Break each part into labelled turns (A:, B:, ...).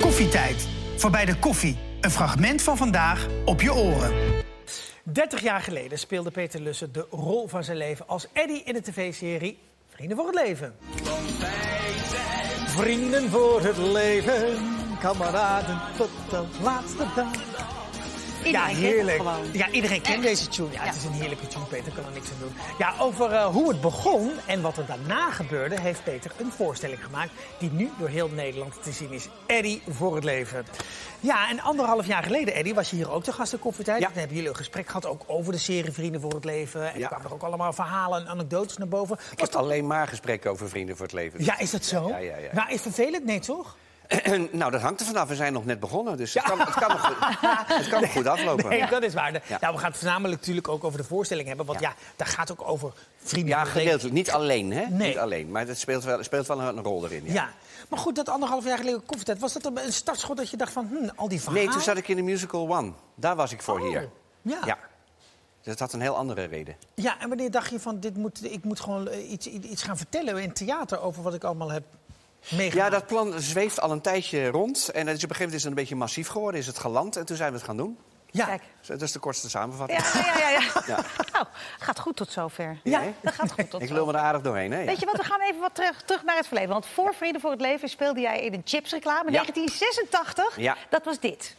A: Koffietijd. Voorbij de koffie. Een fragment van vandaag op je oren.
B: 30 jaar geleden speelde Peter Lussen de rol van zijn leven als Eddy in de tv-serie Vrienden voor het Leven. Vrienden voor het leven, kameraden tot de laatste dag.
C: Iedereen kent het gewoon.
B: Ja, iedereen kent deze tune. Ja, Het is een heerlijke tune, Peter kan er niks aan doen. Ja, over eh, hoe het begon en wat er daarna gebeurde, heeft Peter een voorstelling gemaakt die nu door heel Nederland te zien is. Eddy voor het leven. Ja, en anderhalf jaar geleden, Eddy, was je hier ook te gast in Koffietijd.
D: Ja.
B: Dan hebben jullie een gesprek gehad ook over de serie Vrienden voor het leven. En
D: Ja.
B: er kwamen er ook allemaal verhalen en anekdotes naar boven.
D: Ik heb alleen maar gesprekken over Vrienden voor het Leven.
B: Ja, is dat zo?
D: Ja, ja, ja.
B: Maar is het vervelend? Nee, toch?
D: nou, dat hangt er vanaf. We zijn nog net begonnen, dus het kan, het kan, nog, goed- het kan nog goed aflopen.
B: Nee, dat is waar.
D: Ja.
B: Nou, we gaan het voornamelijk natuurlijk ook over de voorstelling hebben. Want ja,
D: Ja.
B: daar gaat ook over vrienden.
D: Ja,
B: voor het leven.
D: gedeeltelijk. Niet alleen, hè?
B: Nee.
D: Niet alleen, maar dat speelt wel, speelt wel een rol erin. Ja.
B: Ja. Maar goed, dat anderhalf jaar geleden koffietijd, was dat een startschot dat je dacht van, hm, al die verhalen?
D: Nee, toen zat ik in de musical One. Daar was ik voor
B: Oh,
D: hier.
B: ja.
D: ja. Dus dat had een heel andere reden.
B: Ja, en wanneer dacht je van, dit moet, ik moet gewoon eh, iets, iets gaan vertellen in het theater over wat ik allemaal heb meegemaakt?
D: Ja, dat plan zweeft al een tijdje rond. En het is op een gegeven moment is het een beetje massief geworden. Is het geland en toen zijn we het gaan doen.
B: Ja.
C: Kijk.
D: Dus Dat is de kortste samenvatting.
C: Ja, ja, ja. ja.
D: Ja.
C: Nou, gaat goed tot zover.
D: Ja,
C: Ja,
D: hè?
C: dat gaat goed tot
D: Ik
C: zover.
D: lul me er aardig doorheen, hè? ja.
C: Weet je wat, we gaan even wat terug, terug naar het verleden. Want voor Vrienden voor het Leven speelde jij in een chipsreclame.
D: Ja.
C: 1986,
D: Ja.
C: dat was dit.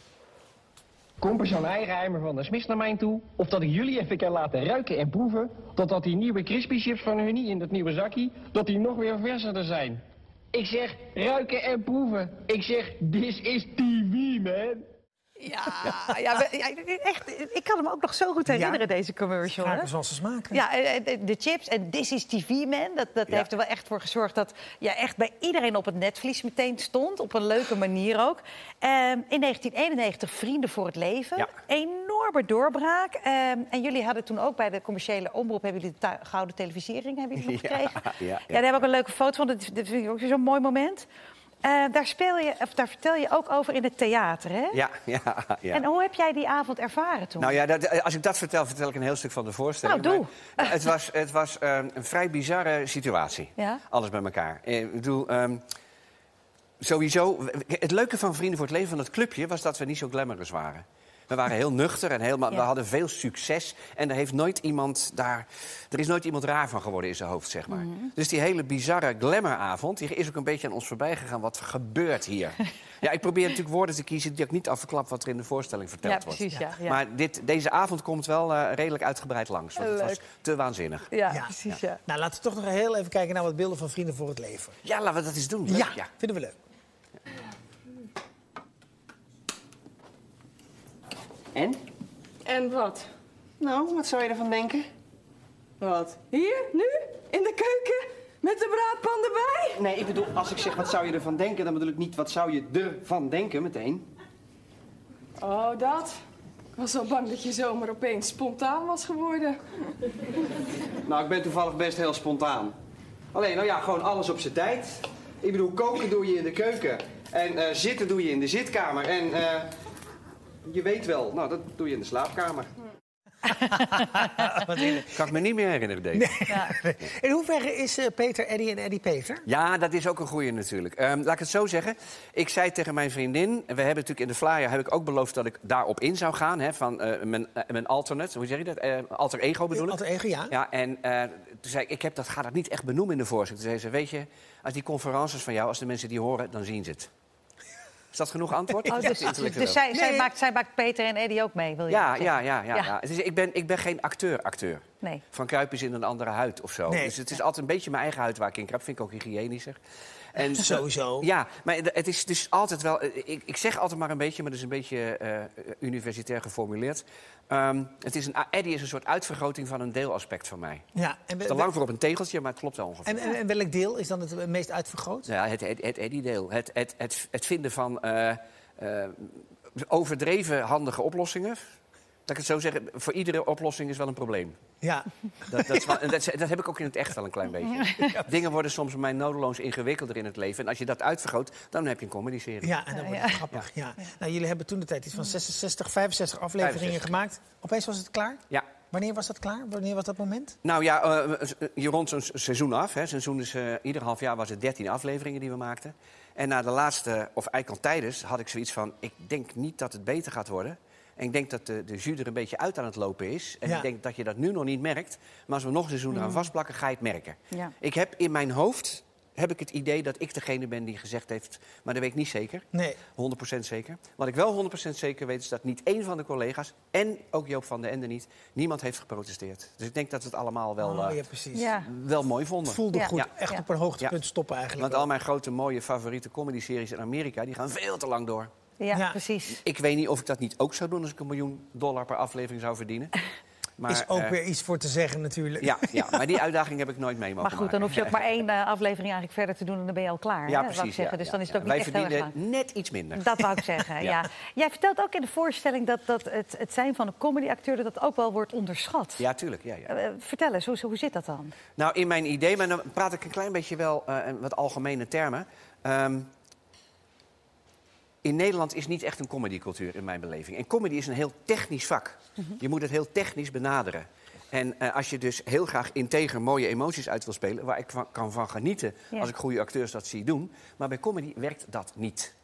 E: Kom persoon eigen eimer van de Smits naar mij toe. Of dat ik jullie even kan laten ruiken en proeven. Totdat die nieuwe crispy chips van Hunnie in dat nieuwe zakkie. Dat die nog weer verserder zijn. Ik zeg ruiken en proeven. Ik zeg, this is TV, man.
C: Ja, ja, we- ja, echt, ik kan hem ook nog zo goed herinneren, deze commercial.
B: Smaken
C: hè?
B: zoals ze smaken.
C: Ja, en- en- en de chips en This is TV Man, dat, dat
D: Ja.
C: heeft er wel echt voor gezorgd dat ja, echt bij iedereen op het netvlies meteen stond. Op een leuke manier ook. Ehm, in 1991 Vrienden voor het Leven.
D: Ja.
C: Enorme doorbraak. Ehm, en jullie hadden toen ook bij de commerciële omroep, hebben jullie de tu- gouden televisiering hebben jullie nog
D: Ja,
C: gekregen.
D: ja, ja.
C: daar heb ik ook een leuke foto van, dat dat vind ik ook zo'n mooi moment. Eh, daar, speel je, of daar vertel je ook over in het theater, hè?
D: Ja, ja, ja.
C: En hoe heb jij die avond ervaren toen?
D: Nou ja, dat, als ik dat vertel, vertel ik een heel stuk van de voorstelling.
C: Nou, doe.
D: Maar, eh, het was, het was eh, een vrij bizarre situatie.
C: Ja.
D: Alles bij elkaar. Eh, Ik bedoel, ehm, sowieso... Het leuke van Vrienden voor het Leven, van dat clubje... was dat we niet zo glamorous waren. We waren heel nuchter en helemaal,
C: Ja.
D: we hadden veel succes. En er, heeft nooit iemand daar, er is nooit iemand raar van geworden in zijn hoofd, zeg maar.
C: Mhm.
D: Dus die hele bizarre glamouravond die is ook een beetje aan ons voorbij gegaan. Wat gebeurt hier? ja, ik probeer natuurlijk woorden te kiezen die ik niet afverklap wat er in de voorstelling verteld
C: Ja,
D: wordt.
C: precies, ja, ja.
D: Maar dit, deze avond komt wel eh, redelijk uitgebreid langs. Want het was te waanzinnig.
C: ja,
B: Ja.
C: precies, ja.
B: Nou, laten we toch nog heel even kijken naar wat beelden van Vrienden voor het Leven.
D: Ja, laten we dat eens doen. Leuk,
B: Ja, vinden we leuk.
F: En?
G: En wat?
F: Nou, wat zou je ervan denken?
G: Wat? Hier, nu, in de keuken, met de braadpan erbij?
F: Nee, ik bedoel, als ik zeg wat zou je ervan denken, dan bedoel ik niet wat zou je ervan denken meteen.
G: Oh, dat. Ik was al bang dat je zomaar opeens spontaan was geworden.
F: Nou, ik ben toevallig best heel spontaan. Alleen, nou ja, gewoon alles op zijn tijd. Ik bedoel, koken doe je in de keuken. En eh, zitten doe je in de zitkamer. En eh, je weet wel, nou, dat doe je in de slaapkamer.
D: Kan ik me niet meer herinneren, deze.
B: In hoeverre is eh, Peter Eddy en Eddy Peter?
D: Ja, dat is ook een goeie natuurlijk. Ehm, laat ik het zo zeggen. Ik zei tegen mijn vriendin, we hebben natuurlijk in de flyer heb ik ook beloofd dat ik daarop in zou gaan. Hè, van eh, mijn, eh, mijn alternate, hoe zeg je dat? Eh, alter ego bedoel ik.
B: Alter ego, ja.
D: Ja, en eh, toen zei ik, ik heb dat, ga dat niet echt benoemen in de voorzitter. Toen zei ze, weet je, als die conferences van jou, als de mensen die horen, dan zien ze het. Is dat genoeg antwoord?
C: Oh,
D: Dat
C: dus
D: is intellectueel.
C: dus zij, zij,
B: Nee.
C: maakt, zij maakt Peter en Eddie ook mee, wil je
D: Ja,
C: zeggen?
D: ja, ja, ja.
C: Ja.
D: ja. Het is- ik, ben, ik ben geen acteur-acteur.
C: Nee.
D: Van Kruip is in een andere huid of zo.
B: Nee.
D: Dus het is altijd een beetje mijn eigen huid waar ik in kruip. Vind ik ook hygiënischer. En
B: Sowieso.
D: Ja, maar d- het is dus altijd wel... Ik, ik zeg altijd maar een beetje, maar dat is een beetje eh, universitair geformuleerd. Ehm, het is een, Eddie is een soort uitvergroting van een deelaspect van mij.
B: Ja. En, we-
D: Te lang voor op een tegeltje, maar het klopt wel ongeveer.
B: en, en, en welk deel is dan het meest uitvergroot?
D: Ja, het, het, het Eddie-deel. Het, het, het, het vinden van eh, eh, overdreven handige oplossingen. Dat ik het zo zeggen, voor iedere oplossing is wel een probleem.
B: Ja.
D: Dat, dat, is wel- en dat, is- dat heb ik ook in het echt wel een klein beetje. Dingen worden soms bij mij nodeloos ingewikkelder in het leven. En als je dat uitvergroot, dan heb je een comedy-serie.
B: Ja, en dat wordt het grappig. Ja. Nou, jullie hebben toen de tijd iets van 66, 65 afleveringen
D: 65.
B: gemaakt. Opeens was het klaar?
D: Ja.
B: Wanneer was dat klaar? Wanneer was dat moment?
D: Nou ja, eh, je rondt zo'n seizoen af. Hè. Seizoen is, eh, ieder half jaar was het 13 afleveringen die we maakten. En na de laatste, of eigenlijk al tijdens, had ik zoiets van... ik denk niet dat het beter gaat worden. En ik denk dat de, de jus er een beetje uit aan het lopen is. En
B: Ja.
D: ik denk dat je dat nu nog niet merkt. Maar als we nog een seizoen eraan vastplakken, ga je het merken.
C: Ja.
D: Ik heb in mijn hoofd heb ik het idee dat ik degene ben die gezegd heeft... maar dat weet ik niet zeker.
B: Nee.
D: 100% zeker. Wat ik wel 100% zeker weet is dat niet één van de collega's... en ook Joop van den Ende niet, niemand heeft geprotesteerd. Dus ik denk dat we het allemaal wel,
B: Oh,
D: eh,
B: ja, precies.
C: Ja.
D: wel mooi vonden.
B: Het voelde
C: Ja.
B: goed.
D: Ja.
B: Echt
C: Ja.
B: op een hoogtepunt
D: Ja.
B: stoppen eigenlijk.
D: Want al mijn grote, mooie, favoriete comedy-series in Amerika... die gaan veel te lang door.
C: Ja,
B: Ja.
C: precies.
D: Ik weet niet of ik dat niet ook zou doen... als ik een miljoen dollar per aflevering zou verdienen. Maar,
B: is ook
D: eh,
B: weer iets voor te zeggen natuurlijk.
D: Ja, ja, maar die uitdaging heb ik nooit mee mogen
C: Maar goed,
D: maken.
C: dan hoef je ook maar één eh, aflevering eigenlijk verder te doen en dan ben je al klaar.
D: Ja,
C: hè,
D: precies.
C: wou ik zeggen.
D: ja,
C: Dus dan
D: ja,
C: is het ook
D: ja.
C: niet echt
D: Wij
C: heel erg lang.
D: verdienen net iets minder.
C: Dat wou ik zeggen, ja. Jij vertelt ook in de voorstelling dat, dat het, het zijn van een comedyacteur... dat dat ook wel wordt onderschat.
D: Ja, tuurlijk. Ja, ja.
C: Eh, eh, vertel eens, hoe, hoe zit dat dan?
D: Nou, in mijn idee, maar dan praat ik een klein beetje wel eh, in wat algemene termen. Ehm, in Nederland is niet echt een comedycultuur in mijn beleving. En comedy is een heel technisch vak. Je moet het heel technisch benaderen. En eh, als je dus heel graag integer mooie emoties uit wil spelen... waar ik van, kan van genieten
C: Ja.
D: als ik goede acteurs dat zie doen... maar bij comedy werkt dat niet.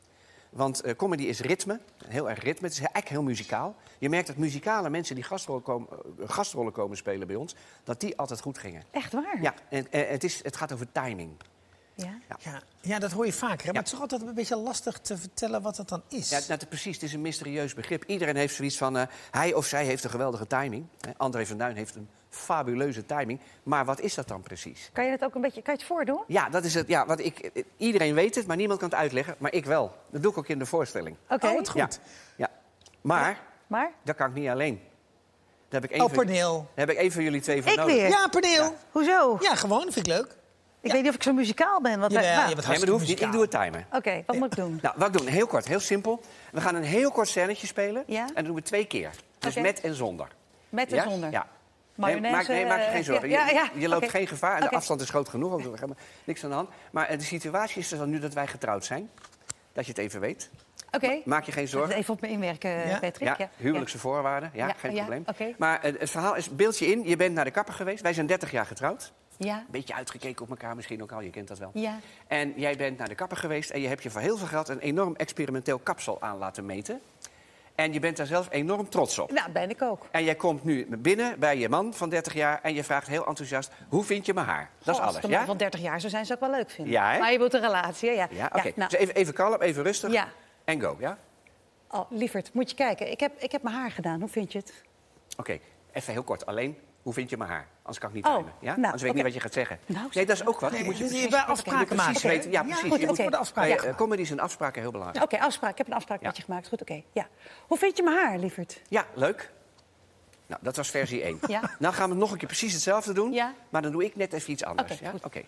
D: Want eh, comedy is ritme, heel erg ritme. Het is eigenlijk heel muzikaal. Je merkt dat muzikale mensen die gastrollen komen, eh, gastrollen komen spelen bij ons... dat die altijd goed gingen.
C: Echt waar?
D: Ja, en, eh, het, is, het gaat over timing.
C: Ja?
B: Ja, ja, dat hoor je vaker. Hè? Maar het is toch altijd een beetje lastig te vertellen wat dat dan is.
D: Ja, nou, te- precies, het is een mysterieus begrip. Iedereen heeft zoiets van, eh, hij of zij heeft een geweldige timing. Eh, André van Duin heeft een fabuleuze timing. Maar wat is dat dan precies?
C: Kan je dat ook een beetje kan je het voordoen?
D: Ja, dat is het. Ja, want ik, eh, iedereen weet het, maar niemand kan het uitleggen. Maar ik wel. Dat doe ik ook in de voorstelling.
C: Oké,
B: Oh, wat goed.
D: Ja, ja. Maar
C: maar
D: dat kan ik niet alleen. Daar heb ik één
B: Oh,
D: van-
B: Perneel.
D: daar heb ik één van jullie twee voor
C: Ik
D: nodig.
C: weer?
B: Ja, Perneel. Ja.
C: hoezo?
B: gewoon. Vind ik leuk.
C: Ik weet niet of ik zo muzikaal ben. Want
B: Jawel,
C: wij- nou,
B: je bent
D: Nee, maar dat hoeft niet. Ik
B: muzikaal.
D: doe het timer.
C: Oké, wat moet ik doen?
D: Nou, wat ik doen? Heel kort, heel simpel. We gaan een heel kort scènetje spelen.
C: Ja.
D: En dat doen we twee keer. Dus
C: Oké.
D: met en zonder.
C: Met en
D: Ja?
C: zonder?
D: Ja.
C: Mayonaise,
D: nee, maak, nee, maak je
C: eh,
D: geen zorgen.
C: ja,
D: Je-
C: ja,
D: je loopt
C: oké.
D: geen gevaar. En de
C: Oké.
D: afstand is groot genoeg. ook, er gaat maar niks aan de hand. Maar eh, de situatie is dus dan nu dat wij getrouwd zijn. Dat je het even weet.
C: Oké.
D: Maak je geen zorgen.
C: Even op me inwerken,
B: Ja?
C: Patrick.
D: Ja, huwelijkse voorwaarden. Ja,
C: Ja,
D: geen
C: ja,
D: probleem.
C: oké.
D: Maar eh, het verhaal is, beeld je in. Je bent naar de kapper geweest. Wij zijn 30 jaar getrouwd.
C: Ja.
D: Een beetje uitgekeken op elkaar misschien ook al, je kent dat wel.
C: Ja.
D: En jij bent naar de kapper geweest en je hebt je voor heel veel geld... een enorm experimenteel kapsel aan laten meten. En je bent daar zelf enorm trots op.
C: Nou, ben ik ook.
D: En jij komt nu binnen bij je man van 30 jaar en je vraagt heel enthousiast... hoe vind je mijn haar?
C: Goh,
D: Dat is
C: als
D: alles,
C: het een man
D: ja?
C: van 30 jaar zou zijn, zou ik wel leuk vinden.
D: Ja, hè?
C: maar je moet een relatie, hè? ja.
D: Ja, oké.
C: nou,
D: Dus even, even kalm, even rustig.
C: Ja.
D: En go, ja?
C: oh, lieverd, moet je kijken. Ik heb, ik heb mijn haar gedaan. Hoe vind je het?
D: Oké, even heel kort. Alleen, hoe vind je mijn haar? Anders kan ik niet
C: Oh,
D: timen, ja?
C: nou,
D: Anders weet
C: oké.
D: ik niet wat je gaat zeggen.
C: Nou,
D: nee, dat is ook wat.
B: Nee,
D: je moet je
B: dus
D: precies,
B: je bij afspraken
D: precies
B: maken.
D: weten. Ja,
B: Ja,
D: precies.
B: goed,
D: je moet
C: oké.
D: voor de
C: Ja.
D: afspraken. eh, comedy is een afspraken heel belangrijk.
C: Nou, Oké, afspraak. Ik heb een afspraak
D: Ja.
C: met je gemaakt. Goed, oké. Ja. Hoe vind je mijn haar, lieverd?
D: Ja, leuk. Nou, dat was versie 1.
C: Ja.
D: Nou gaan we nog een keer precies hetzelfde doen.
C: Ja.
D: Maar dan doe ik net even iets anders.
C: Oké,
D: ja?
C: goed.
D: Oké.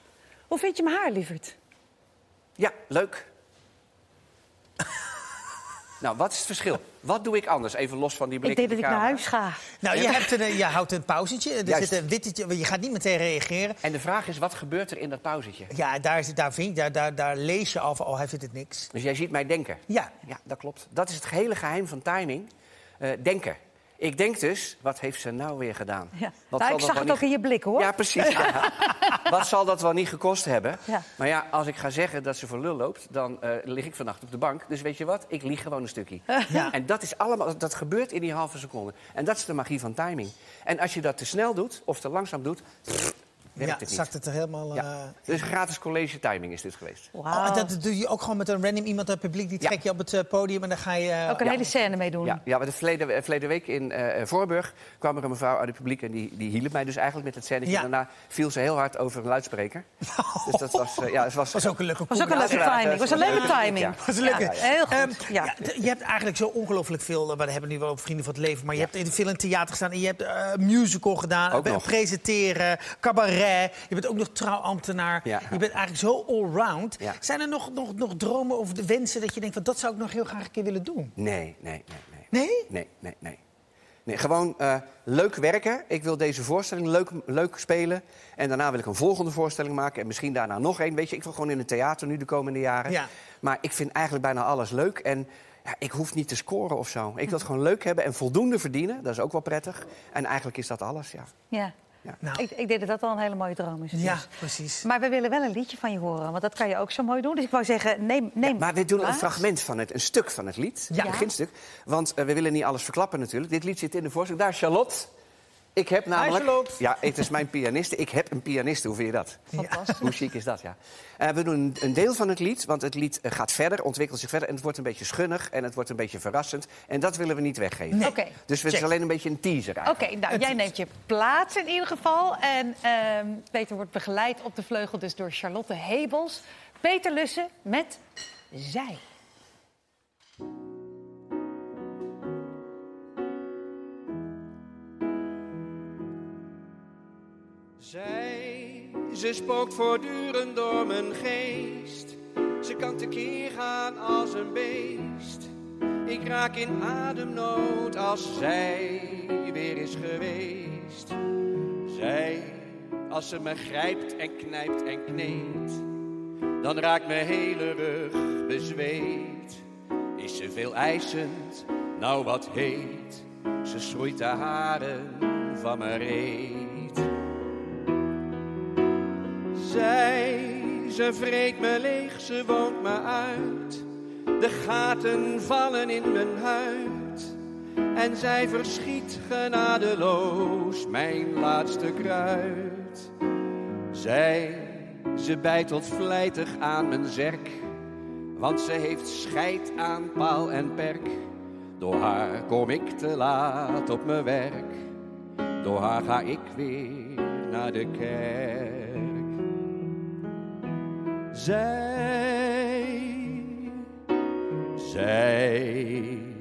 C: Hoe vind je mijn haar, lieverd?
D: ja, leuk. nou, wat is het verschil? Wat doe ik anders? Even los van die blik
C: Ik denk
D: op
C: dat
D: de
C: ik naar
D: camera.
C: huis ga.
B: Nou, je, hebt een, eh, je houdt een pauzetje. Er
D: Juist.
B: zit een wittetje. Je gaat niet meteen reageren.
D: En de vraag is, wat gebeurt er in dat pauzetje?
B: Ja, daar, zit- daar, vind, ik- daar, daar, daar lees je al van, oh, hij vindt het niks.
D: Dus jij ziet mij denken.
B: Ja.
D: Ja, dat klopt. Dat is het hele geheim van timing. Eh, denken. Ik denk dus, wat heeft ze nou weer gedaan?
C: Ja.
D: Wat
C: Nou, ik
D: zal dat
C: zag
D: wel
C: het ook in
D: niet-
C: je blik, hoor.
D: Ja, precies. wat zal dat wel niet gekost hebben?
C: Ja.
D: Maar ja, als ik ga zeggen dat ze voor lul loopt, dan eh, lig ik vannacht op de bank. Dus weet je wat? Ik lieg gewoon een stukje.
B: Ja.
D: En dat is allemaal, dat gebeurt in die halve seconde. En dat is de magie van timing. En als je dat te snel doet of te langzaam doet, pff, werkt
B: ja,
D: het niet.
B: zakt het er helemaal... eh,
D: Ja. Dus gratis college timing is dit geweest.
B: Oh, en
C: Wauw.
B: dat doe je ook gewoon met een random iemand uit het publiek. Die
D: Ja.
B: trek je op het eh, podium en dan ga je... eh,
C: Ook een hele scène mee doen.
D: Ja, ja maar de verleden, eh, verleden week in eh, Voorburg kwam er een mevrouw uit het publiek... en die, die hielp mij dus eigenlijk met het scènetje.
B: Ja. Oh.
D: En daarna viel ze heel hard over een luidspreker. Dus dat was... eh, ja, het was,
B: was ook een leuke
C: was ook een
B: combinatie.
C: leuke
D: Ja,
C: timing. was een
D: ja,
C: leuke
D: ja.
C: timing.
D: Ja.
B: Dat is lekker.
C: Ja, heel goed,
B: Ehm,
C: ja.
B: d- je hebt eigenlijk zo ongelooflijk veel. eh, We hebben nu wel op Vrienden van het Leven. Maar je hebt in veel in theater gestaan. En je hebt eh, musical gedaan.
D: Ook
B: eh,
D: nog.
B: Presenteren, cabaret. Je bent ook nog trouwambtenaar.
D: Ja.
B: Je bent eigenlijk zo allround.
D: Ja.
B: Zijn er nog, nog, nog dromen of de wensen dat je denkt... Van, dat zou ik nog heel graag een keer willen doen?
D: Nee, nee, nee, nee.
B: Nee?
D: Nee, nee, nee. Nee, gewoon eh, leuk werken. Ik wil deze voorstelling leuk, leuk spelen. En daarna wil ik een volgende voorstelling maken. En misschien daarna nog één. Weet je, ik wil gewoon in het theater nu de komende jaren.
B: Ja.
D: Maar ik vind eigenlijk bijna alles leuk. En ja, ik hoef niet te scoren of zo. Ik wil het gewoon leuk hebben en voldoende verdienen. Dat is ook wel prettig. En eigenlijk is dat alles, ja.
C: Ja.
B: Nou,
C: Ik, ik denk dat dat al een hele mooie droom is.
B: ja,
C: Dus.
B: precies.
C: Maar we willen wel een liedje van je horen, want dat kan je ook zo mooi doen. Dus ik wou zeggen, neem... neem
D: Maar we doen een
C: Klaas.
D: fragment van het, een stuk van het lied.
B: Ja.
D: Een beginstuk. Want eh, we willen niet alles verklappen natuurlijk. Dit lied zit in de voorstelling. Daar is Charlotte. Ik heb namelijk...
B: Charlotte.
D: Ja, het is mijn pianiste. Ik heb een pianiste. Hoe vind je dat?
C: Fantastisch.
D: Hoe chic is dat, ja. Eh, we doen een- een deel van het lied, want het lied eh, gaat verder, ontwikkelt zich verder... en het wordt een beetje schunnig en het wordt een beetje verrassend. En dat willen we niet weggeven.
C: Nee. Oké.
D: Dus het is
B: Check.
D: alleen een beetje een teaser eigenlijk.
C: Oké, nou, jij neemt je plaats in ieder geval. En ehm, Peter wordt begeleid op de vleugel dus door Charlotte Hebels. Peter Lussen met Zij.
F: Zij, ze spookt voortdurend door mijn geest. Ze kan tekeer gaan als een beest. Ik raak in ademnood als zij weer is geweest. Zij, als ze me grijpt en knijpt en kneedt, dan raakt mijn hele rug bezweet. Is ze veel eisend, nou wat heet, ze schroeit de haren van mijn reet. Zij, ze vreet me leeg, ze woont me uit. De gaten vallen in mijn huid. En zij verschiet genadeloos mijn laatste kruid. Zij, ze bijtelt vlijtig aan mijn zerk. Want ze heeft scheid aan paal en perk. Door haar kom ik te laat op mijn werk. Door haar ga ik weer naar de kerk. Zij, zij